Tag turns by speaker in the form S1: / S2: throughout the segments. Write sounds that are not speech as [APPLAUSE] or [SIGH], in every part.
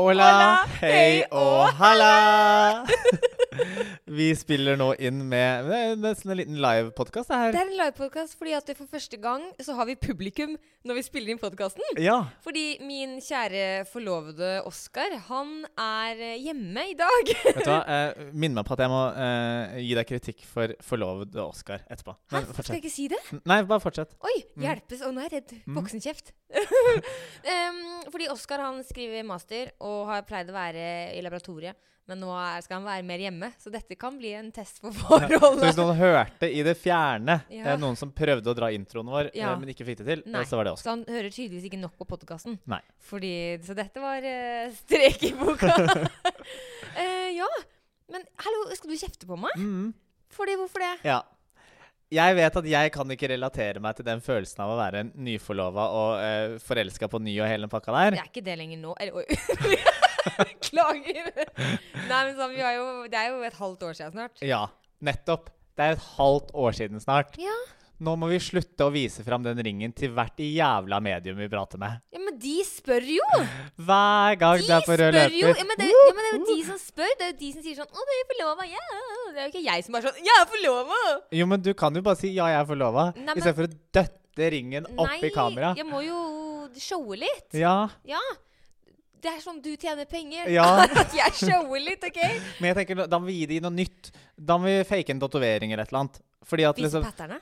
S1: Hola,
S2: Hola,
S1: hei
S2: hei
S1: og
S2: og
S1: halla! [LAUGHS] Vi spiller nå inn med Det er nesten en liten livepodkast, det her.
S2: Det er en livepodkast fordi at for første gang så har vi publikum når vi spiller inn podkasten.
S1: Ja.
S2: Fordi min kjære forlovede Oskar, han er eh, hjemme i dag.
S1: Vet du hva? Eh, minn meg på at jeg må eh, gi deg kritikk for forlovede Oscar etterpå.
S2: Hæ?
S1: Men
S2: Skal jeg
S1: fortsett.
S2: ikke si det?
S1: N- Nei, bare fortsett.
S2: Oi,
S1: Mm.
S2: hjelpes. Å, nå er jeg redd. Voksenkjeft. [LAUGHS] Em, fordi Oskar han skriver master og har pleid å være i laboratoriet. Men nå er, skal han være mer hjemme, så dette kan bli en test for
S1: Så hvis
S2: forholdet.
S1: noen hørte i det fjerne eh,
S2: Ja.
S1: noen som prøvde å dra introen vår, eh,
S2: Ja.
S1: men ikke fikk det til, eh,
S2: Nei.
S1: så var det Oscar.
S2: Så han hører tydeligvis ikke nok på podkasten.
S1: Nei.
S2: Fordi, så dette var eh, strek i
S1: [LAUGHS]
S2: boka. Eh, ja, men hallo, skal du kjefte på meg?
S1: Mm,
S2: Fordi, hvorfor det?
S1: ja. Jeg vet at jeg kan ikke relatere meg til den følelsen av å være nyforlova og eh, forelska på ny og hele den pakka der.
S2: Det er ikke det lenger nå. Eller, oi. [LAUGHS] Beklager. Nei, men sånn, vi har jo, det er jo et halvt år siden snart.
S1: Ja, nettopp. Det er et halvt år siden snart.
S2: Ja.
S1: Nå må vi slutte å vise fram den ringen til hvert jævla medium vi prater med.
S2: Ja, men de spør jo!
S1: Hver gang
S2: De
S1: det er på rød
S2: spør jo!
S1: løper.
S2: Ja, men det, er- ja, men det er jo de som spør. Det er jo de som sier sånn 'Å, du er forlova', ja. Det er jo ikke jeg som er sånn 'Jeg er forlova'!
S1: Jo, men du kan jo bare si 'ja, jeg er forlova',
S2: Nei, men-
S1: istedenfor å døtte ringen opp i kamera.
S2: jeg må jo showe litt.
S1: Ja,
S2: Ja. Det er sånn du tjener penger.
S1: Ja.
S2: [LAUGHS] At jeg shower litt, OK?
S1: men jeg tenker, da må vi gi det noe nytt. Da må vi fake en tatovering eller et eller annet. Fordi at
S2: Vise
S1: liksom
S2: patterne?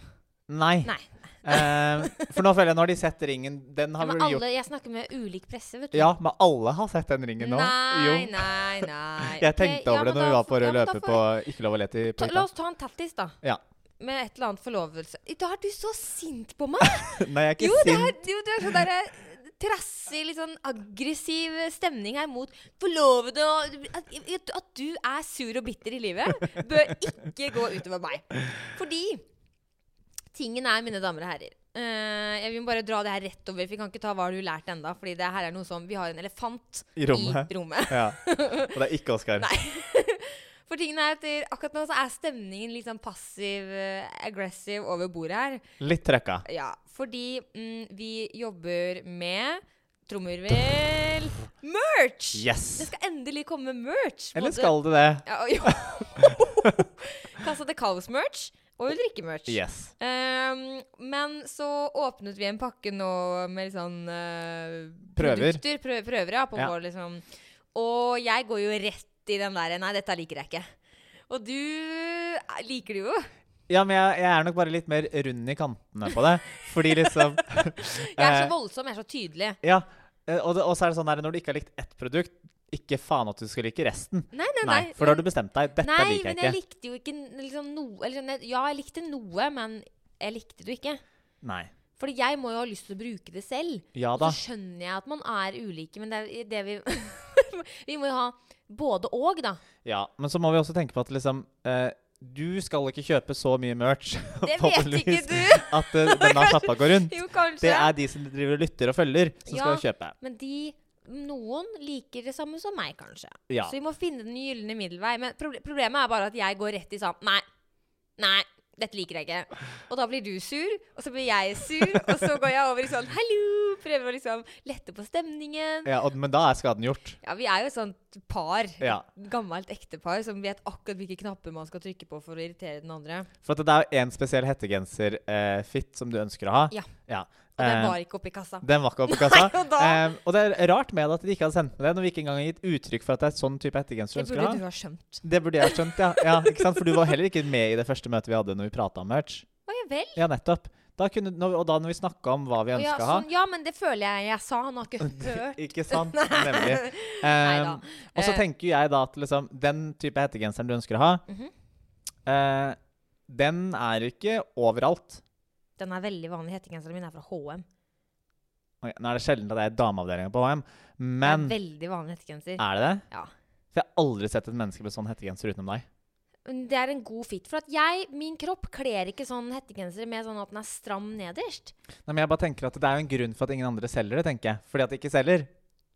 S1: Nei.
S2: Nei.
S1: Eh, for nå føler jeg, nå har de sett ringen. Den har
S2: Ja, men
S1: vel gjort
S2: alle, jeg snakker med ulik presse, vet du.
S1: Ja, men alle har sett den ringen nå. jo.
S2: Nei, nei, nei.
S1: [LAUGHS] Jeg tenkte
S2: Ok,
S1: over
S2: ja,
S1: det
S2: men
S1: når vi
S2: da
S1: var på
S2: får- ja,
S1: rød
S2: men da
S1: løper
S2: får-
S1: på Ikke lov å le til
S2: Ta,
S1: pulta.
S2: La oss ta en tattis, da.
S1: Ja.
S2: Med et eller annet forlovelse. I dag er du så sint på meg!
S1: Nei, jeg er ikke
S2: Jo, det er,
S1: sint.
S2: jo, du er sånn derre trassig, litt sånn aggressiv stemning her mot forlovede og at, at- at du er sur og bitter i livet, bør ikke gå utover meg. Fordi tingen er, mine damer og herrer eh, Jeg vil bare dra det her rett over, for vi kan ikke ta hva har du lært enda. Fordi det her er noe som Vi har en elefant
S1: I rommet.
S2: i rommet.
S1: Ja. Og det er ikke Oskar.
S2: Nei. For tingen er at eh, akkurat nå så er stemningen litt sånn passiv, eh, aggressiv over bordet her.
S1: Litt trøkka.
S2: Ja, fordi mm, vi jobber med Trommervel Merch!
S1: Yes!
S2: Det skal endelig komme merch!
S1: Eller
S2: både-
S1: skal det det?
S2: ja, [LAUGHS] og- jo. Kassa til Kaos-merch og Ulrikke-merch.
S1: Yes.
S2: Ehm, men så åpnet vi en pakke nå med litt sånn eh,
S1: Prøver.
S2: Produkter, prø prøver, ja. På
S1: Ja.
S2: vår, liksom. Og jeg går jo rett i den derre Nei, dette liker jeg ikke. Og du eh, liker det jo.
S1: Ja, men jeg, jeg er nok bare litt mer rund i kantene på det. Fordi liksom
S2: [LAUGHS] Jeg er så
S1: eh,
S2: voldsom, jeg er så tydelig.
S1: Ja. eh, Og, det, og så er det sånn her når du ikke har likt ett produkt, ikke faen at du skal like resten.
S2: Nei, nei, nei.
S1: Nei, for da har du bestemt deg. Dette
S2: nei,
S1: liker
S2: men
S1: jeg
S2: jeg
S1: ikke.
S2: likte jo ikke n- liksom noe eller, sånn, jeg- Ja, jeg likte noe, men jeg likte det jo ikke.
S1: Nei.
S2: Fordi jeg må jo ha lyst til å bruke det selv.
S1: Ja
S2: Og
S1: da.
S2: så skjønner jeg at man er ulike, men det er det vi [LAUGHS] Vi må jo ha både og,
S1: [LAUGHS]
S2: da.
S1: Ja, men så må vi også tenke på at liksom eh, Du skal ikke kjøpe så mye merch [LAUGHS]
S2: Det vet
S1: forhåpentligvis,
S2: ikke du! [LAUGHS]
S1: at eh, denne sjappa går rundt.
S2: Jo, kanskje.
S1: Det er de som driver og lytter og følger, som
S2: Ja.
S1: skal kjøpe.
S2: Men de Noen liker det samme som meg, kanskje.
S1: Ja.
S2: Så vi må finne den gylne middelvei. Men proble problemet er bare at jeg går rett i sånn Nei. Nei. Dette liker jeg ikke. Og da blir du sur, og så blir jeg sur, og så går jeg over i sånn hallo, prøver å liksom lette på stemningen.
S1: Ja, og, men da er skaden gjort.
S2: Ja, vi er jo et sånt par,
S1: Ja.
S2: gammelt ektepar, som vet akkurat hvilke knapper man skal trykke på for å irritere den andre.
S1: For at det er én spesiell hettegenser-fit som du ønsker å ha.
S2: Ja. Og
S1: Eh,
S2: den var ikke oppi kassa.
S1: den var ikke oppe i kassa.
S2: Nei, og da-
S1: Eh, og det er rart med at de ikke hadde sendt med det, når vi ikke engang har gitt uttrykk for at det er sånn type hettegenser du
S2: Det
S1: ønsker å
S2: burde
S1: ha.
S2: du ha skjønt.
S1: Det burde jeg skjønt, ja. ja ikke sant? For du var heller ikke med i det første møtet vi hadde når vi prata om merch.
S2: Å ja vel.
S1: Ja, nettopp. Da kunne, når- og da når vi snakka om hva vi
S2: Å, Ja,
S1: ønska å ha
S2: sånn, ja, men det føler jeg jeg sa. Han har ikke hørt.
S1: Ikke sant? [LAUGHS] Nemlig. Eh,
S2: Neida.
S1: og så
S2: Eh.
S1: tenker jeg da at liksom, den type hettegenseren du ønsker å ha,
S2: Mhm.
S1: eh, den er ikke overalt.
S2: [LAUGHS] Den er veldig vanlig. Hettegenseren min er fra HM.
S1: Oi, Nå er det sjelden at det er dameavdelinga på HM,
S2: Det
S1: men
S2: er veldig vanlig hettegenser.
S1: er det det?
S2: Ja.
S1: For jeg har aldri sett et menneske med sånn hettegenser utenom deg.
S2: Men Det er en god fit. For at jeg, min kropp kler ikke sånn hettegenser med sånn at den er stram nederst.
S1: Nei, men jeg bare tenker at Det er jo en grunn for at ingen andre selger det, tenker jeg. Fordi at det ikke selger.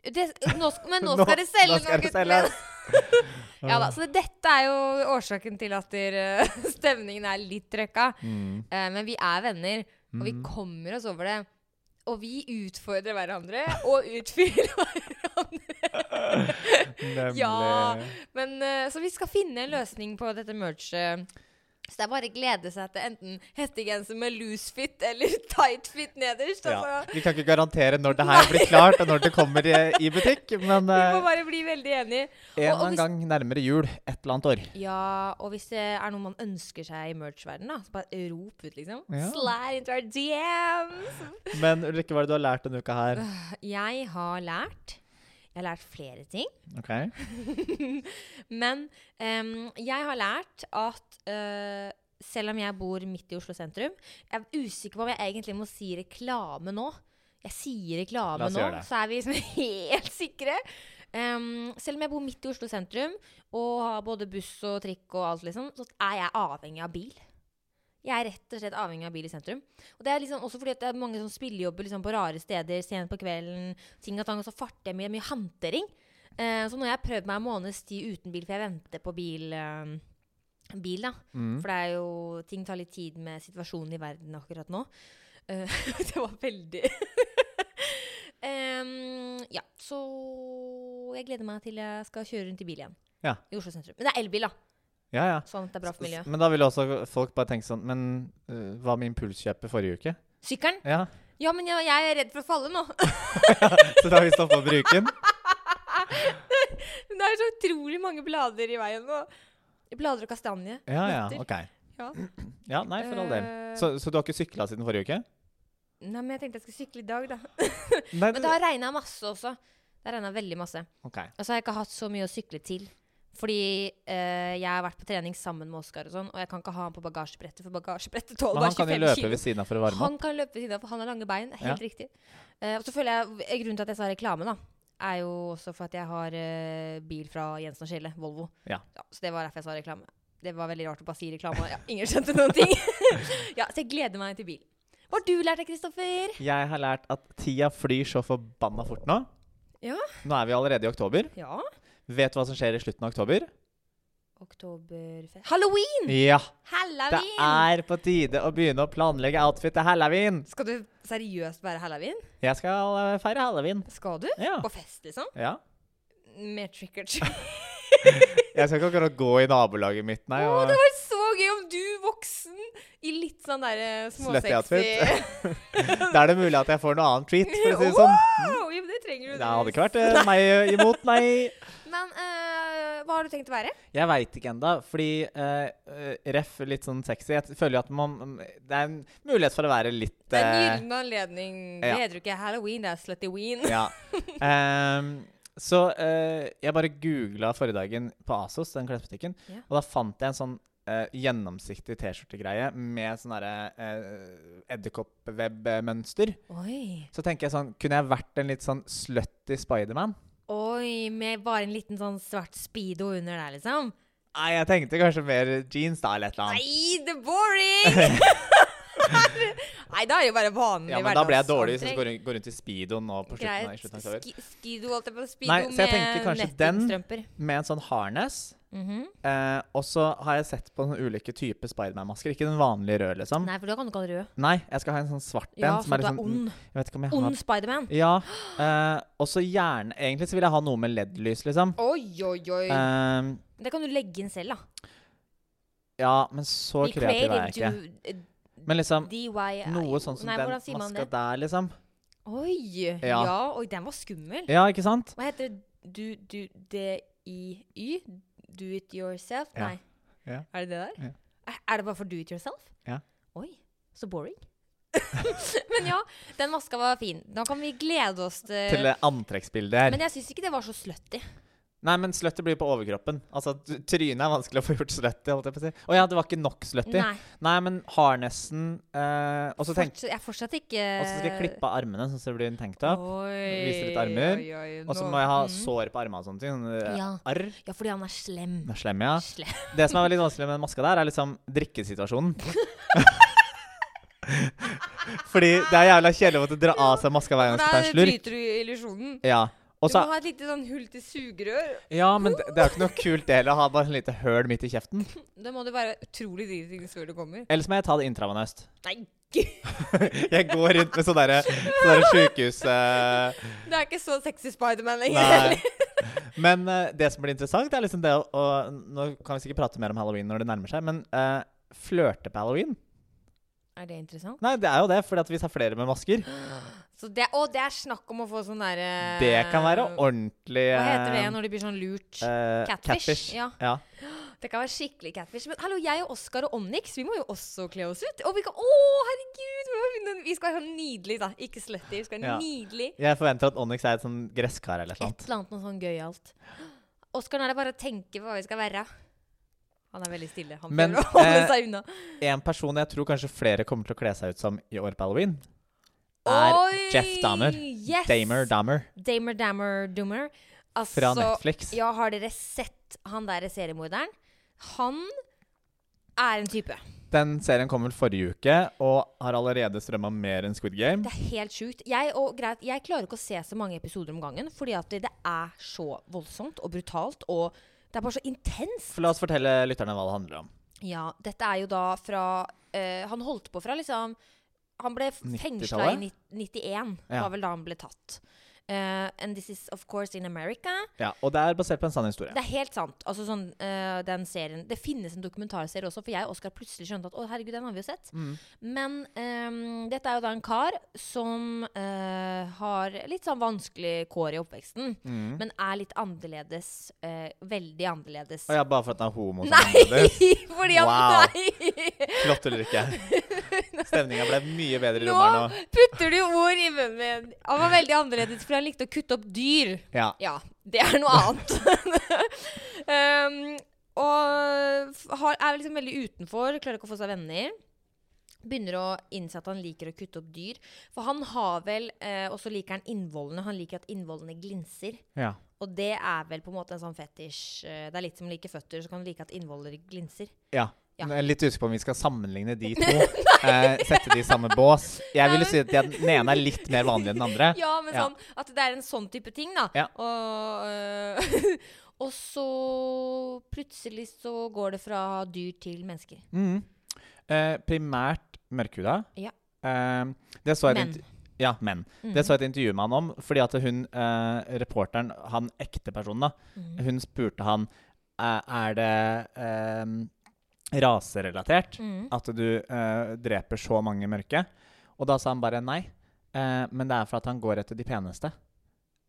S2: Det, nå, sk-
S1: [LAUGHS]
S2: men nå
S1: Nå-
S2: skal det selge!
S1: nå skal det
S2: gutten
S1: selge.
S2: min. [LAUGHS] ja da, Så dette er jo årsaken til at [LAUGHS] der, eh, stemningen er litt trøkka.
S1: Mm.
S2: Eh, men vi er venner, og vi
S1: Mm.
S2: kommer oss over det. Og vi utfordrer hverandre og utfyller hverandre.
S1: Nemlig.
S2: Ja. [LAUGHS] Men, eh, så vi skal finne en løsning på dette merchet. Så det er bare å glede seg til enten hettegenser med loose fit eller [LAUGHS] tight fit nederst.
S1: Ja.
S2: Altså.
S1: Vi kan ikke garantere når det her blir klart, og når det kommer i, i butikk, men
S2: [LAUGHS] Vi
S1: eh,
S2: må bare bli veldig enige.
S1: en eller
S2: og
S1: annen
S2: hvis-
S1: gang nærmere jul et eller annet år.
S2: Ja, og hvis det er noe man ønsker seg i merch-verdenen, da, så bare rop ut, liksom.
S1: Ja.
S2: Slide into our DMs!
S1: Men Ulrikke, hva er det du har lært denne uka her?
S2: Jeg har lært Jeg har lært flere ting.
S1: Ok,
S2: Men em, jeg har lært at eh, selv om jeg bor midt i Oslo sentrum Jeg er usikker på om jeg egentlig må si reklame nå. Jeg sier
S1: La
S2: reklame
S1: oss
S2: nå,
S1: gjøre det.
S2: så er vi liksom [LAUGHS] helt sikre. Em, selv om jeg bor midt i Oslo sentrum og har både buss og trikk og alt, liksom, så er jeg avhengig av bil. Jeg er rett og slett avhengig av bil i sentrum. Og det er liksom også fordi at det er mange sånn spillejobber liksom på rare steder sent på kvelden. ting og tang, og så farter jeg mye. Mye hantering. Eh, så nå har jeg prøvd meg en måneds tid uten bil, for jeg venter på bil. eh, bil da.
S1: Mm.
S2: For det er jo, ting tar litt tid med situasjonen i verden akkurat nå. Eh, det var veldig Em, Ja, så jeg gleder meg til jeg skal kjøre rundt i bil igjen.
S1: Ja.
S2: I Oslo sentrum. Men det er elbil, da.
S1: ja, ja.
S2: Sånn at det er bra for miljøet.
S1: Men da vil også folk bare tenke sånn Men eh, hva med impulskjøpet forrige uke?
S2: Sykkelen?
S1: Ja, [LAUGHS]
S2: Ja, men jeg, jeg er redd for å falle nå.
S1: Så da har vi stoppa å bruke den?
S2: Men det er så utrolig mange blader i veien nå. Blader og kastanje.
S1: Ja, ja,
S2: Nøtter.
S1: ok.
S2: Ja.
S1: Ja, nei, for all del.
S2: Eh,
S1: Så, så du har ikke sykla siden forrige
S2: [LAUGHS]
S1: uke?
S2: Nei, men jeg tenkte jeg skulle sykle i dag, da.
S1: Nei,
S2: Men det har regna masse også. Det har regna veldig masse.
S1: ok.
S2: Og så har jeg ikke hatt så mye å sykle til. Fordi eh, jeg har vært på trening sammen med Oskar, og sånn, og jeg kan ikke ha han på bagasjebrettet, for bagasjebrettet tåler
S1: Men
S2: bare
S1: han kan jo
S2: 25
S1: løpe
S2: kilo.
S1: ved siden av for å varme opp.
S2: Han kan løpe ved siden av, for han har lange bein. Helt riktig. Eh, og så føler jeg, eh, Grunnen til at jeg sa reklame, da, er jo også for at jeg har eh, bil fra Jensen og Skille, Volvo.
S1: Ja.
S2: Så det var derfor jeg sa reklame. Det var veldig rart å bare si reklame. Ja, ingen skjønte noen ting. [LAUGHS] ja, Så jeg gleder meg til bil. Hva har du lært deg, Kristoffer?
S1: Jeg har lært at tida flyr så forbanna fort nå.
S2: Ja.
S1: Nå er vi allerede i oktober.
S2: Ja,
S1: Vet du hva som skjer i slutten av oktober?
S2: oktoberfest Halloween!
S1: Ja! Det
S2: Halloween!
S1: er på tide å begynne å planlegge outfit til halloween.
S2: Skal du seriøst være halloween?
S1: Jeg skal eh, feire halloween.
S2: Skal du?
S1: Ja.
S2: På fest, liksom?
S1: ja.
S2: Med trick or treat? [LAUGHS]
S1: Jeg skal ikke akkurat gå i nabolaget mitt, nei.
S2: Å,
S1: Og
S2: det var så gøy om du, voksen, i litt sånn derre
S1: Slutty
S2: [LAUGHS] småsexy
S1: outfit. da er det mulig at jeg får noe annet treat, for å si det sånn.
S2: Wow, jo, det trenger du.
S1: Det hadde ikke vært eh, meg eh, imot, nei.
S2: Men eh, hva har du tenkt å være?
S1: [LAUGHS] Jeg veit ikke enda, fordi eh, eh, ref litt sånn sexy. Jeg føler jo at man Det er en mulighet for å være litt
S2: Det er en
S1: eh,
S2: gyllen anledning. Det
S1: ja.
S2: heter jo ikke halloween, det er sluttyween.
S1: [LAUGHS] Ja. Ehm, så eh, jeg bare googla forrige dagen på Asos, den klesbutikken,
S2: Ja.
S1: og da fant jeg en sånn eh, gjennomsiktig T-skjortegreie med sånn derre uh, edderkoppweb-mønster.
S2: [LAUGHS] Oi.
S1: Så tenker jeg sånn Kunne jeg vært en litt sånn slutty Spiderman?
S2: Oi, med bare en liten sånn svart speedo under der, liksom.
S1: Nei, jeg tenkte kanskje mer jeans, da, eller et eller annet.
S2: Nei, det er
S1: [LAUGHS]
S2: boring! [LAUGHS] Nei, da er det jo bare vanlig
S1: Ja, men da ble jeg dårlig hvis jeg
S2: hverdagsantrekk.
S1: går rundt, går rundt i speedoen nå på slutten av, i slutten av oktober.
S2: Greit. Ski- Skido, alt det på speedo
S1: Nei, så jeg tenker
S2: med
S1: kanskje den.
S2: nettingstrømper.
S1: Med en sånn harness.
S2: Mhm.
S1: Eh, og så har jeg sett på sånne ulike typer Spiderman-masker. Ikke den vanlige røde, liksom.
S2: Nei, for da kan du ikke ha rød.
S1: Nei, jeg skal ha en sånn svart en.
S2: Ja, for
S1: som er
S2: du er
S1: liksom,
S2: ond.
S1: Jeg vet ikke om jeg
S2: Ond
S1: har
S2: Spiderman.
S1: Ja. eh, og så gjerne Egentlig så vil jeg ha noe med LED-lys, liksom.
S2: Oi, oi, oi.
S1: Eh,
S2: det kan du legge inn selv, da.
S1: ja, men så
S2: Be
S1: kreativ er jeg ikke.
S2: creative, do-
S1: Men liksom
S2: DIY
S1: noe sånn som
S2: Nei,
S1: den
S2: hvordan sier man
S1: maska
S2: det?
S1: der, liksom.
S2: Oi! Ja.
S1: Ja.
S2: Oi, den var skummel.
S1: Ja, ikke sant?
S2: Hva heter det? Du, du, DIY? Do it yourself?
S1: Ja.
S2: Nei.
S1: Ja.
S2: Er det det der?
S1: Ja.
S2: Er, er det bare for do it yourself?
S1: Ja.
S2: Oi, så boring. [LAUGHS] Men ja, den maska var fin. Da kan vi glede oss til,
S1: Til det antrekksbildet her.
S2: Eh, Men jeg syns ikke det var så slutty.
S1: Nei, men slutty blir på overkroppen. Altså, t- Trynet er vanskelig å få gjort slutty. holdt jeg på å si. Å ja, det var ikke nok slutty. Nei.
S2: Nei.
S1: men harnessen eh, Og så tenk-
S2: fortsatt, jeg er fortsatt ikke
S1: og så skal
S2: eh,
S1: jeg klippe av armene, sånn at det blir en tanktop.
S2: Oi,
S1: vise litt armer,
S2: oi, oi,
S1: Og så
S2: nå-
S1: må jeg ha
S2: mm.
S1: sår på armene og sånne ting. Sånne eh,
S2: Ja.
S1: Arr.
S2: Ja, fordi han er slem.
S1: Den er slem, ja.
S2: Slem.
S1: Det som er veldig vanskelig med den maska der, er liksom
S2: [LAUGHS]
S1: drikkesituasjonen. Fordi det er jævla kjedelig å måtte dra av seg maska hver gang man skal ta en
S2: Der
S1: slurk.
S2: bryter du illusjonen.
S1: Ja. Og
S2: Du må
S1: så,
S2: ha et lite sånn hull til sugerør.
S1: ja, men det, det er jo ikke noe kult det heller å ha bare en lite høl midt i kjeften.
S2: Da må du være utrolig driting før du kommer.
S1: Ellers må jeg ta det intravenøst.
S2: Nei,
S1: Jeg går rundt med sånn derre sånn sjukehus...
S2: [LAUGHS]
S1: Eh,
S2: Det er ikke så sexy Spiderman lenger.
S1: nei. Men eh, det som blir interessant, er liksom det å, å Nå kan vi sikkert prate mer om halloween når det nærmer seg, men eh, flørte på halloween?
S2: [LAUGHS] Er det interessant?
S1: Nei, det er jo det, fordi at vi tar flere med masker.
S2: Så det, og det er snakk om å få sånn derre
S1: Det kan være ordentlig
S2: Eh, Hva heter det
S1: eh,
S2: når de blir sånn lurt?
S1: eh,
S2: Catfish?
S1: Ja.
S2: Ja. Det kan være skikkelig catfish. Men hallo, jeg og Oskar og Onyx, vi må jo også kle oss ut. Og vi kan, å, herregud! Vi, må finne, en- vi skal være sånn nydelig, da. Ikke slutty. Vi skal være
S1: Ja.
S2: nydelig.
S1: Jeg forventer at Onyx er et sånn gresskar eller
S2: Et
S1: noe sånt.
S2: eller annet noe sånn gøyalt. Oskar, nå er det bare å tenke på hva vi skal være. Han er veldig stille. Han
S1: Men,
S2: prøver å holde
S1: eh,
S2: seg unna.
S1: En person jeg tror kanskje flere kommer til å kle seg ut som i år på halloween, er Jeff Dahmer.
S2: Yes.
S1: Damer Dammer
S2: Damer Dammer Dummer. Altså,
S1: fra Netflix.
S2: Ja, har dere sett han der seriemorderen? Han er en type.
S1: Den serien kom vel forrige uke og har allerede strømma mer enn Squid Game.
S2: Det er helt sjukt. Jeg, og, greit, jeg klarer ikke å se så mange episoder om gangen, fordi at det, det er så voldsomt og brutalt, og det er bare så intenst.
S1: For la oss fortelle lytterne hva det handler om.
S2: Ja, dette er jo da fra eh, Han holdt på fra liksom Han ble fengsla i
S1: 90-tallet?
S2: ni- 91,
S1: Ja.
S2: var vel da han ble tatt. Eh, and this is of course in America.
S1: Ja, Og det er basert på en sann historie.
S2: Det er helt sant. Altså sånn, øh, den serien, det finnes en dokumentarserie også, for jeg og Oskar plutselig skjønte at å herregud, den har vi jo sett. Men øhm, dette er jo da en kar som øh, har litt sånn vanskelig kår i oppveksten,
S1: Mm.
S2: men er litt annerledes. øh, veldig annerledes.
S1: Og ja, bare for at den er homo. som
S2: Nei!
S1: handler det.
S2: [LAUGHS] Fordi han
S1: Wow.
S2: Nei!
S1: Flott,
S2: [LAUGHS]
S1: Ulrikke. Stemninga ble mye bedre i
S2: Nå
S1: rommet her nå.
S2: putter du ord i munnen min. Han var veldig annerledes, for han likte å kutte opp dyr.
S1: Ja.
S2: Ja, det er noe annet. [LAUGHS] um, og f- har, er liksom veldig utenfor, klarer ikke å få seg venner. Begynner å innse at han liker å kutte opp dyr. For han har vel eh, Og så liker han innvollene. Han liker at innvollene glinser.
S1: ja.
S2: Og det er vel på en måte en sånn fetisj eh, Det er litt som å like føtter, så kan du like at innvoller glinser.
S1: Ja.
S2: Ja.
S1: Jeg er litt usikker på om vi skal sammenligne de
S2: [LAUGHS]
S1: to. eh, sette de i samme bås. Jeg ville si at de- den ene er litt mer vanlig enn den andre.
S2: Ja, men
S1: Ja.
S2: sånn at det er en sånn type ting, da.
S1: Ja.
S2: Og, øh, [LAUGHS] og så plutselig så går det fra dyr til mennesker.
S1: Mhm. Eh, primært mørkhuda.
S2: Ja.
S1: Eh, det så jeg et
S2: Menn.
S1: intervju- Ja, menn.
S2: Mhm.
S1: Det så jeg et intervju med han om, fordi at hun, eh, reporteren, han ekte personen, da,
S2: Mhm.
S1: hun spurte han eh, er det eh, raserelatert
S2: Mhm.
S1: at du eh, dreper så mange mørke. Og da sa han bare nei, eh, men det er for at han går etter de peneste.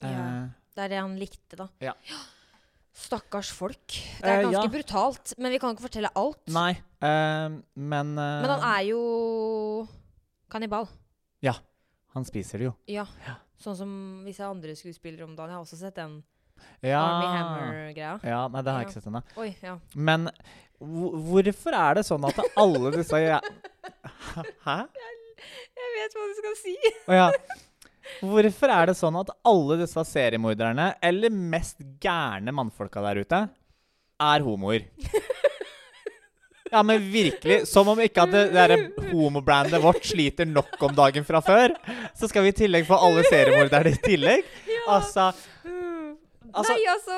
S1: Eh,
S2: Ja. Det er det han likte, da.
S1: Ja.
S2: Stakkars folk. Det
S1: Eh,
S2: er ganske
S1: ja.
S2: brutalt. Men vi kan ikke fortelle alt.
S1: Nei, eh, men eh,
S2: Men han er jo kannibal.
S1: han spiser det jo.
S2: Ja. Sånn som visse andre skuespillere om dagen. Jeg har også sett den
S1: Ja.
S2: Army Hammer-greia.
S1: Ja, nei, det har jeg
S2: Ja.
S1: ikke sett ennå.
S2: Oi, ja.
S1: Men hvor- hvorfor er det sånn at alle disse jæ-
S2: [LAUGHS]
S1: Hæ?
S2: Jeg vet hva du skal [LAUGHS] si.
S1: Å ja. Hvorfor er det sånn at alle disse seriemorderne, eller mest gærne mannfolka der ute, er homoer? Ja, men virkelig. Som om ikke at det derre homobrandet vårt sliter nok om dagen fra før. Så skal vi i tillegg få alle seriemorderne i tillegg. Altså, altså
S2: Nei, altså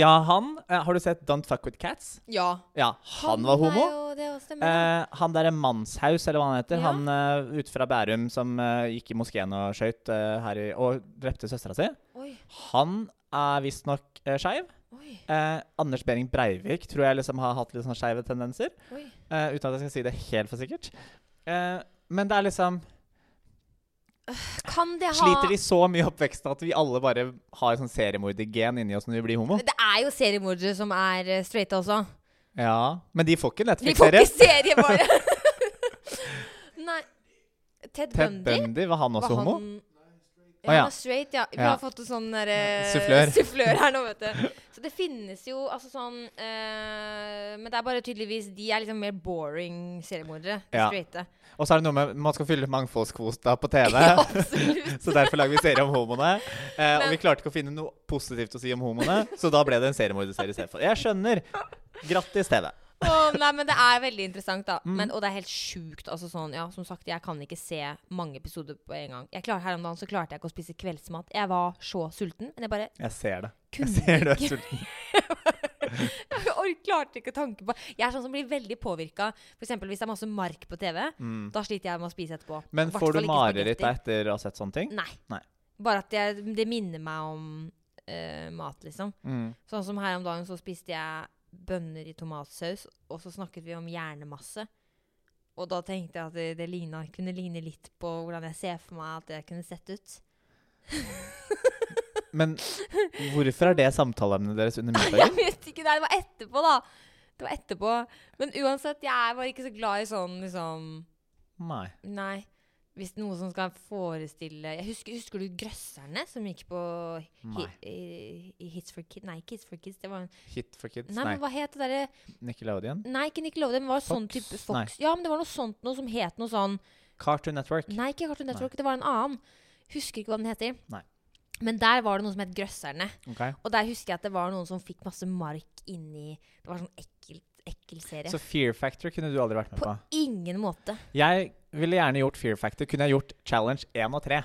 S1: Ja, han eh, Har du sett Don't Fuck With Cats?
S2: ja.
S1: Ja, han var
S2: er
S1: homo.
S2: jo- Det stemmer. det.
S1: Eh, han derre Mannshaus, eller hva han heter,
S2: Ja.
S1: han eh, ute fra Bærum som eh, gikk i moskeen og skøyt eh, her i, og drepte søstera si,
S2: Oi,
S1: han er visstnok uh, skeiv.
S2: oi,
S1: Eh, Anders Behring Breivik tror jeg liksom har hatt litt sånn skeive tendenser.
S2: oi.
S1: eh, uten at jeg skal si det helt for sikkert. Eh, men det er liksom
S2: Kan det ha
S1: Sliter de så mye i oppveksten at vi alle bare har et sånn seriemordergen inni oss når vi blir homo?
S2: Det er jo seriemordere som er eh, straighte også.
S1: Ja, Men de får ikke
S2: De får
S1: Netflix-serie.
S2: ikke serie, bare. [LAUGHS] Nei. Ted,
S1: Ted
S2: Bundy?
S1: Bundy, var han også
S2: var
S1: homo?
S2: han
S1: Å,
S2: ja,
S1: ja.
S2: han er straight, ja. Vi
S1: Ja.
S2: har fått en sånn der, eh,
S1: Sufflør.
S2: [LAUGHS] sufflør her nå,
S1: [LAUGHS]
S2: vet du. Så det finnes jo altså sånn eh, Men det er bare tydeligvis de er liksom mer boring seriemordere. de
S1: Ja.
S2: Straighte.
S1: Og så er det noe med man skal fylle mangfoldskvota på
S2: [LAUGHS]
S1: TV.
S2: Absolutt.
S1: [LAUGHS] Så derfor lager vi serie om homoene. Eh, og
S2: Men-
S1: vi klarte ikke å finne noe positivt å si om homoene, så da ble det en seriemorderserie istedenfor. Jeg skjønner. Grattis, TV.
S2: Åh, nei, men det er veldig interessant, da.
S1: Mm.
S2: Men, og det er helt sjukt. Altså, sånn, ja, som sagt, jeg kan ikke se mange episoder på en gang. Jeg klar, her om dagen så klarte jeg ikke å spise kveldsmat. Jeg var så sulten, men jeg bare
S1: Jeg ser det. Jeg
S2: kunne
S1: ser du er sulten.
S2: [LAUGHS] Jeg ork- klarte ikke å tanke på Jeg er sånn som blir veldig påvirka. F.eks. hvis det er masse mark på TV.
S1: Mm.
S2: Da sliter jeg med å spise etterpå.
S1: Men
S2: I hvert
S1: får
S2: fall
S1: du
S2: ikke
S1: mareritt
S2: spagetti.
S1: da etter å ha sett sånne ting?
S2: Nei.
S1: Nei.
S2: Bare at jeg, det minner meg om eh, mat, liksom.
S1: Mm.
S2: Sånn som her om dagen så spiste jeg bønner i tomatsaus, og så snakket vi om hjernemasse. Og da tenkte jeg at det, det ligna, kunne ligne litt på hvordan jeg ser for meg at det kunne sett ut.
S1: Men hvorfor er det samtaleemnet deres under middagen?
S2: [LAUGHS] Jeg [LAUGHS] vet ikke, nei, det var etterpå, da. Det var etterpå. Men uansett, jeg er bare ikke så glad i sånn liksom
S1: Nei.
S2: Nei. Hvis noe som skal forestille Jeg Husker, husker du Grøsserne, som gikk på hi,
S1: Nei.
S2: i, i Hits for Kids Nei, Kids for Kids. Det var en,
S1: Hit for kids?
S2: nei,
S1: Nei.
S2: men hva het det derre
S1: Nickelodeon?
S2: Nei, ikke Nickelodeon, men det var sånn
S1: Fox?
S2: type
S1: Nei.
S2: Fox. Ja, men det var noe sånt noe som het noe sånn
S1: Cartoon Network?
S2: Nei, ikke Cartoon Network, det var en annen. Husker ikke hva den heter.
S1: Nei.
S2: Men der var det noe som het Grøsserne.
S1: Ok.
S2: Og der husker jeg at det var noen som fikk masse mark inni Det var sånn ekkel, ekkel serie.
S1: Så Fear Factor kunne du aldri vært med
S2: På-
S1: på.
S2: Ingen måte.
S1: Jeg ville gjerne gjort Fear Factor. Kunne jeg gjort Challenge 1 og 3?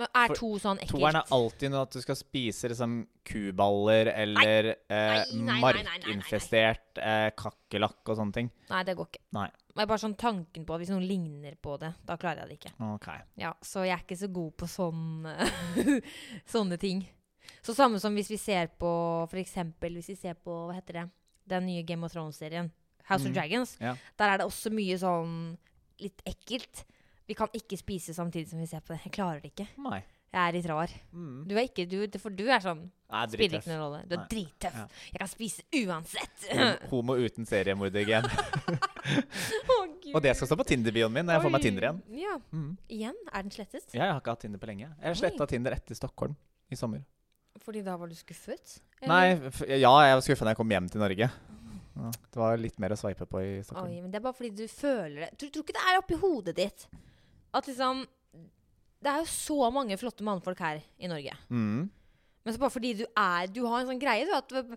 S2: Men er
S1: For-
S2: to sånn
S1: Toeren er
S2: ekkelt?
S1: alltid noe at du skal spise liksom kuballer eller eh,
S2: Nei, nei, nei, nei, nei, nei, nei.
S1: markinfestert eh, kakerlakk og sånne ting.
S2: Nei, det går ikke.
S1: Nei.
S2: Men bare sånn tanken på at hvis noen ligner på det, da klarer jeg det ikke.
S1: Ok.
S2: Ja, Så jeg er ikke så god på sånn, [LAUGHS] sånne ting. Så samme som hvis vi ser på for eksempel hvis vi ser på hva heter det, den nye Game of Thrones-serien, House
S1: Mhm.
S2: of Dragons.
S1: Ja.
S2: Der er det også mye sånn litt ekkelt. Vi kan ikke spise samtidig som vi ser på det. Jeg klarer det ikke.
S1: Nei.
S2: Jeg er litt rar.
S1: Mm.
S2: Du er ikke, du, for du er sånn
S1: Nei,
S2: Spiller
S1: drittøff.
S2: ikke noen rolle. Du er
S1: Nei.
S2: drittøff.
S1: Ja. Mm.
S2: Jeg kan spise uansett.
S1: Hom- Homo uten seriemordergen.
S2: [LAUGHS] Å, Gud.
S1: Og det skal stå på Tinder-bioen min når jeg får meg
S2: Oi.
S1: Tinder igjen.
S2: Ja.
S1: Mhm.
S2: Igjen? Er den slettet?
S1: Jeg har ikke hatt Tinder på lenge. Jeg sletta Tinder etter Stockholm i sommer.
S2: Fordi da var du skuffet?
S1: Nei, f ja, jeg var skuffa da jeg kom hjem til Norge. Ja, det var litt mer å sveipe på i Stockholm.
S2: Oi, men det er bare fordi du føler det. Tror, tror ikke det er oppi hodet ditt at liksom Det er jo så mange flotte mannfolk her i Norge.
S1: Mm.
S2: Men så bare fordi du er Du har en sånn greie, du, at du-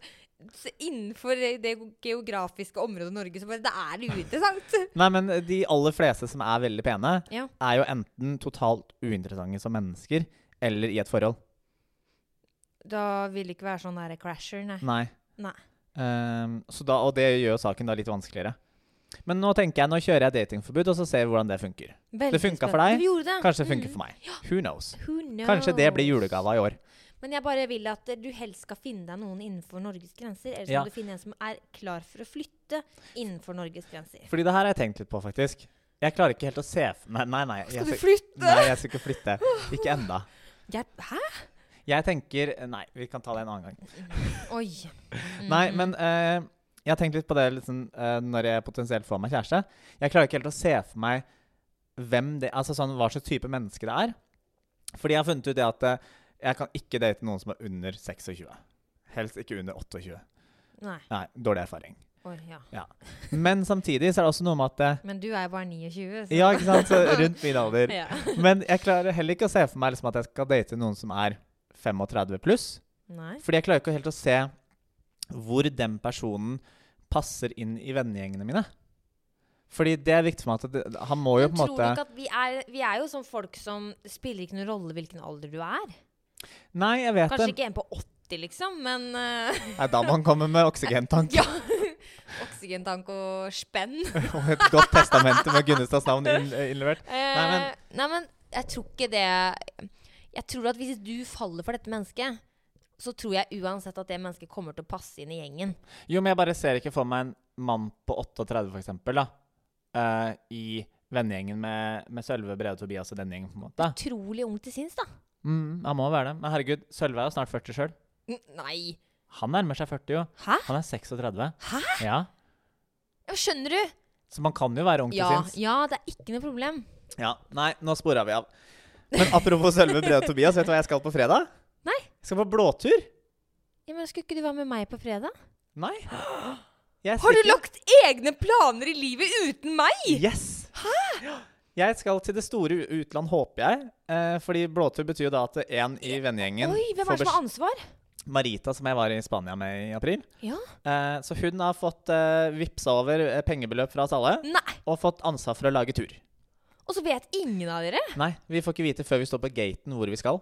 S2: så innenfor det geografiske området Norge, så bare Det er det uinteressant.
S1: Nei, men de aller fleste som er veldig pene,
S2: Ja.
S1: er jo enten totalt uinteressante som mennesker, eller i et forhold.
S2: [LAUGHS] Da vil det ikke være sånn der crasher, nei.
S1: Nei.
S2: Nei.
S1: Ehm, så da, og det gjør jo saken da litt vanskeligere. Men nå tenker jeg, nå kjører jeg datingforbud, og så ser vi hvordan det funker.
S2: Veldig
S1: Det funka for
S2: spennende.
S1: deg.
S2: Du gjorde det.
S1: Kanskje det funker
S2: Mm.
S1: for meg. Who knows?
S2: Who knows?
S1: Kanskje det blir julegava i år.
S2: Men jeg bare vil at eh, du helst skal finne deg noen innenfor Norges grenser. Eller så
S1: Ja.
S2: må du finne en som er klar for å flytte innenfor Norges grenser.
S1: Fordi det her har jeg tenkt litt på, faktisk. Jeg klarer ikke helt å se for Mm. meg Nei, nei. Jeg,
S2: Skal du
S1: skal-
S2: flytte?
S1: nei, jeg skal ikke flytte. Ikke enda.
S2: Jeg,
S1: [LAUGHS]
S2: hæ?
S1: Jeg tenker Nei, vi kan ta det en annen gang.
S2: Oi.
S1: Nei,
S2: Mhm.
S1: men eh, jeg har tenkt litt på det liksom, eh, når jeg potensielt får meg kjæreste. Jeg klarer ikke helt å se for meg hvem det, altså sånn, hva slags type menneske det er. Fordi jeg har funnet ut det at eh, jeg kan ikke date noen som er under 26. Helst ikke under 28.
S2: Nei.
S1: Nei, dårlig erfaring.
S2: Oi, ja.
S1: Men samtidig så er det også noe med at eh,
S2: Men du er jo bare 29, så
S1: Ja, ikke sant? Så
S2: [LAUGHS]
S1: rundt min alder.
S2: Ja.
S1: Men jeg klarer heller ikke å se for meg liksom, at jeg skal date noen som er 35 pluss.
S2: Nei.
S1: Fordi jeg klarer ikke helt å se hvor den personen passer inn i vennegjengene mine. Fordi det er viktig for meg at det, han må jo
S2: Men
S1: på en
S2: tror du
S1: måte
S2: ikke at vi er, vi er jo sånn folk som spiller ikke noen rolle hvilken alder du er?
S1: Nei, jeg vet
S2: Kanskje
S1: det.
S2: ikke en på 80, liksom, men eh,
S1: Nei, da må han komme med oksygentank
S2: [LAUGHS] Ja. Oksygentank og spenn.
S1: og et godt testament med Gunnestads navn inn- innlevert.
S2: Eh, nei, men jeg tror ikke det Jeg tror at hvis du faller for dette mennesket, så tror jeg uansett at det mennesket kommer til å passe inn i gjengen.
S1: Jo, men jeg bare ser ikke for meg en mann på 38, for eksempel, da, eh, i vennegjengen med, med Sølve, Brede og Tobias og den gjengen, på en måte.
S2: Utrolig ung til sinns, da.
S1: Mm, han må være det. Men herregud, Sølve er jo snart 40 sjøl.
S2: N- Nei.
S1: Han nærmer seg 40, jo.
S2: Hæ?
S1: Han er 36.
S2: Hæ?
S1: Ja.
S2: Ja, skjønner du?
S1: Så man kan jo være ung til
S2: Ja,
S1: sinns.
S2: ja, det er ikke noe problem.
S1: Ja, nei, nå spora vi av. Men apropos Sølve Brede og Tobias, vet du hva jeg skal på fredag?
S2: Nei.
S1: Jeg skal på blåtur.
S2: Ja, men Skulle ikke du være med meg på fredag?
S1: Nei. Jeg
S2: Har du
S1: stikker-
S2: lagt egne planer i livet uten meg?
S1: Yes. Hæ? Jeg skal til det store u- utland, håper jeg. Eh, fordi blåtur betyr jo da at én i vennegjengen
S2: Oi, hvem er det som har ansvar?
S1: Marita, som jeg var i Spania med i april.
S2: Ja.
S1: Eh, så hun har fått eh, vippsa over eh, pengebeløp fra oss alle,
S2: Nei,
S1: og fått ansvar for å lage tur.
S2: Og så vet ingen av dere?
S1: Nei, vi får ikke vite før vi står på gaten hvor vi skal.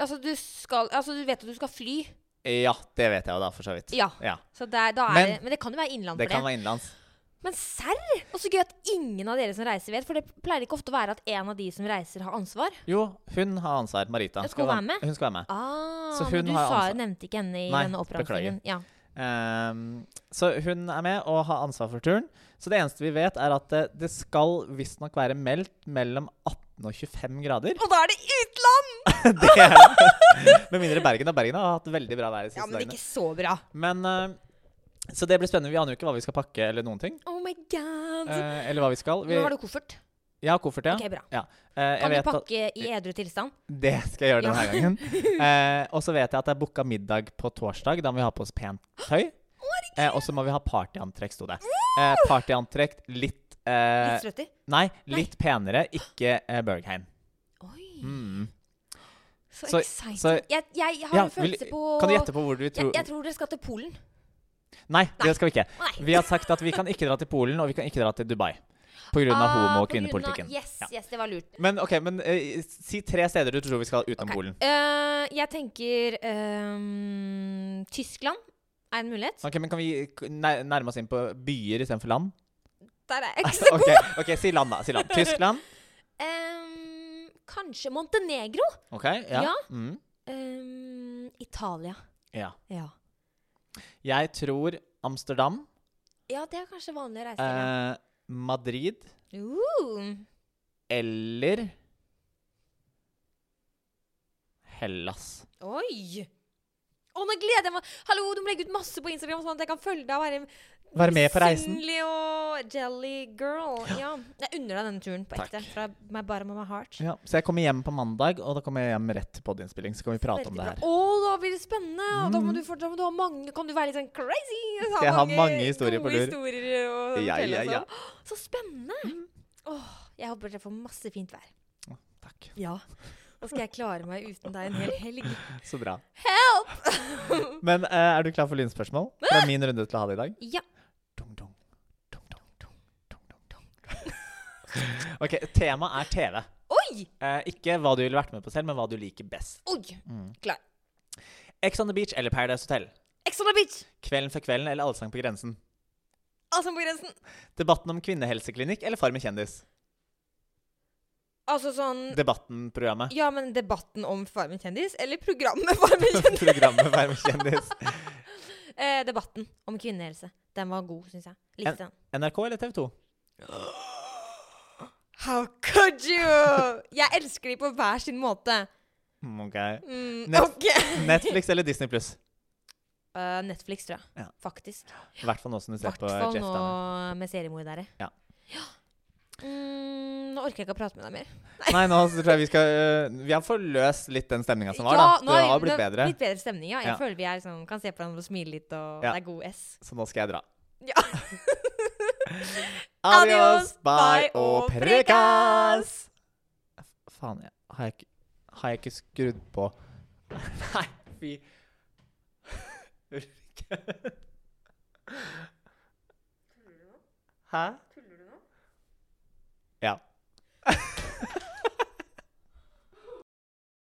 S2: Altså, du, skal, altså, du vet at du skal fly.
S1: Ja, det vet jeg jo da, for så vidt.
S2: Ja.
S1: Ja.
S2: Så det er, da er
S1: Men-
S2: det, men det kan jo være innland
S1: Det
S2: for det.
S1: kan være innenlands.
S2: Men serr! Og så gøy at ingen av dere som reiser vet, for det pleier ikke ofte å være at en av de som reiser, har ansvar.
S1: Jo, hun har ansvar. Marita.
S2: Skal hun være med?
S1: Hun skal være med.
S2: Ah,
S1: Så
S2: men
S1: hun
S2: du
S1: har
S2: sa,
S1: ansvar.
S2: nevnte ikke henne i
S1: Nei,
S2: denne oppramsingen. Ja.
S1: Ehm, så hun er med og har ansvar for turen. Så det eneste vi vet, er at eh, det, det skal visstnok være meldt mellom 18 og 25 grader.
S2: Og da er det utland!
S1: [LAUGHS] Det er det. Med mindre Bergen. Og Bergen har hatt veldig bra vær de
S2: Ja,
S1: siste
S2: men
S1: dagene.
S2: ikke så bra.
S1: Men, eh, så det blir spennende. Vi aner jo ikke hva vi skal pakke, eller noen ting.
S2: Oh my god.
S1: Eh, eller hva vi skal. Vi,
S2: Nå har du koffert.
S1: jeg har koffert, ja.
S2: Ok, bra.
S1: ja. Eh, jeg
S2: Kan du
S1: vet at
S2: pakke i edru tilstand?
S1: Det skal jeg gjøre
S2: Ja.
S1: denne gangen.
S2: [LAUGHS]
S1: Eh, og så vet jeg at det er booka middag på torsdag. Da må vi ha på oss pent tøy. Eh, og så må vi ha partyantrekk, sto det. Eh, partyantrekk litt eh,
S2: Litt strøttig?
S1: Nei, litt penere, ikke eh, Bergheim.
S2: Oi,
S1: Mm.
S2: så,
S1: så-
S2: exciting.
S1: så-
S2: jeg, jeg har
S1: Ja, vil-
S2: en følelse på
S1: Kan du gjette på hvor du
S2: jeg,
S1: tror
S2: jeg tror dere skal til Polen.
S1: Nei, det skal vi ikke.
S2: Nei.
S1: Vi har sagt at vi kan ikke dra til Polen, og vi kan ikke dra til Dubai. Pga. homo-
S2: Ah,
S1: og
S2: på grunn av-
S1: kvinnepolitikken.
S2: Yes,
S1: Ja.
S2: yes, det var lurt.
S1: Men ok, men eh, si tre steder du tror vi skal utenom
S2: Ok.
S1: Polen.
S2: Eh, jeg tenker ehm, Tyskland er en mulighet.
S1: Ok, men Kan vi k- nær- nærme oss inn på byer istedenfor land?
S2: [LAUGHS] Der er jeg ikke så god.
S1: [LAUGHS] Ok, ok, Si land, da.
S2: [LAUGHS]
S1: si land. Tyskland.
S2: Ehm, kanskje Montenegro?
S1: Ok, ja.
S2: Ja.
S1: Mm,
S2: Ehm, Italia.
S1: ja.
S2: Ja.
S1: Jeg tror Amsterdam,
S2: ja, det er kanskje vanlig reise. ja.
S1: eh, Madrid
S2: Uh,
S1: eller Hellas.
S2: oi! Å, nå gleder jeg meg! Hallo, du må legge ut masse på Instagram, sånn at jeg kan følge deg og være
S1: Være med på reisen.
S2: Misunnelig og jelly girl. Ja. Jeg unner deg denne turen på
S1: Takk.
S2: ekte. Fra my bottom of my heart.
S1: Ja, så jeg kommer hjem på mandag, og da kommer jeg hjem rett til podiinnspilling. Så kan vi prate om det
S2: Veldig
S1: her. Mm.
S2: bra. Å, da blir det spennende! Og da må du, fort- da må du ha mange Kan du være litt sånn crazy? og ha
S1: Jeg har mange historier på
S2: gode
S1: lur.
S2: historier å
S1: Ja,
S2: fortelle
S1: ja,
S2: og
S1: ja. Mm.
S2: sånn. Så spennende! Åh, jeg håper dere får masse fint vær.
S1: Takk.
S2: Ja. Og skal jeg klare meg uten deg en hel helg.
S1: Så bra.
S2: Help!
S1: [LAUGHS] Men eh, er du klar for lynspørsmål? Det er min runde til å ha det i dag.
S2: Ja.
S1: Dung, dung, dung, dung, dung, dung, dung,
S2: [LAUGHS]
S1: dung. ok, temaet er TV.
S2: Oi!
S1: Eh, ikke hva du ville vært med på selv, men hva du liker best.
S2: Oi!
S1: Mm.
S2: Klar.
S1: Ex on the beach eller Paradise Hotel?
S2: Ex on the beach!
S1: Kvelden før kvelden eller Allsang på grensen?
S2: Altså på grensen.
S1: Debatten om kvinnehelseklinikk eller Far med kjendis?
S2: Altså sånn [LAUGHS]
S1: Debatten-programmet.
S2: Ja, men debatten om Farmen kjendis, eller programmet [LAUGHS] Farmen kjendis?
S1: [LAUGHS] Programmet Far med kjendis.
S2: Eh, debatten om kvinnehelse. Den var god, syns jeg. Likte den.
S1: NRK eller TV 2?
S2: How could you?! Jeg elsker de på hver sin måte.
S1: Ok.
S2: Mm,
S1: Nett-
S2: ok.
S1: Netflix eller Disney pluss?
S2: [LAUGHS] Eh, Netflix, tror jeg.
S1: Ja.
S2: Faktisk.
S1: I hvert fall nå som du
S2: I
S1: ser
S2: hvert
S1: på
S2: fall
S1: Jeff
S2: nå
S1: Dahmer.
S2: med seriemordere.
S1: Ja.
S2: Mm, nå orker jeg ikke å prate med deg mer.
S1: Nei, nå så tror jeg vi
S2: [LAUGHS]
S1: skal øh, Vi har forløst litt den stemninga som var, da.
S2: nå
S1: Det
S2: vi-
S1: har blitt
S2: det
S1: bedre.
S2: Litt bedre stemning, ja. Jeg
S1: Ja.
S2: føler vi er, liksom, kan se på hverandre og smile litt, og
S1: Ja.
S2: det er god S.
S1: Så nå skal jeg dra.
S2: [LAUGHS] Ja.
S1: Adios, bye og prekas! Faen, jeg, har, jeg ikke, har jeg ikke skrudd på [LAUGHS] Nei, fy [LAUGHS] Ulrikke. Hæ?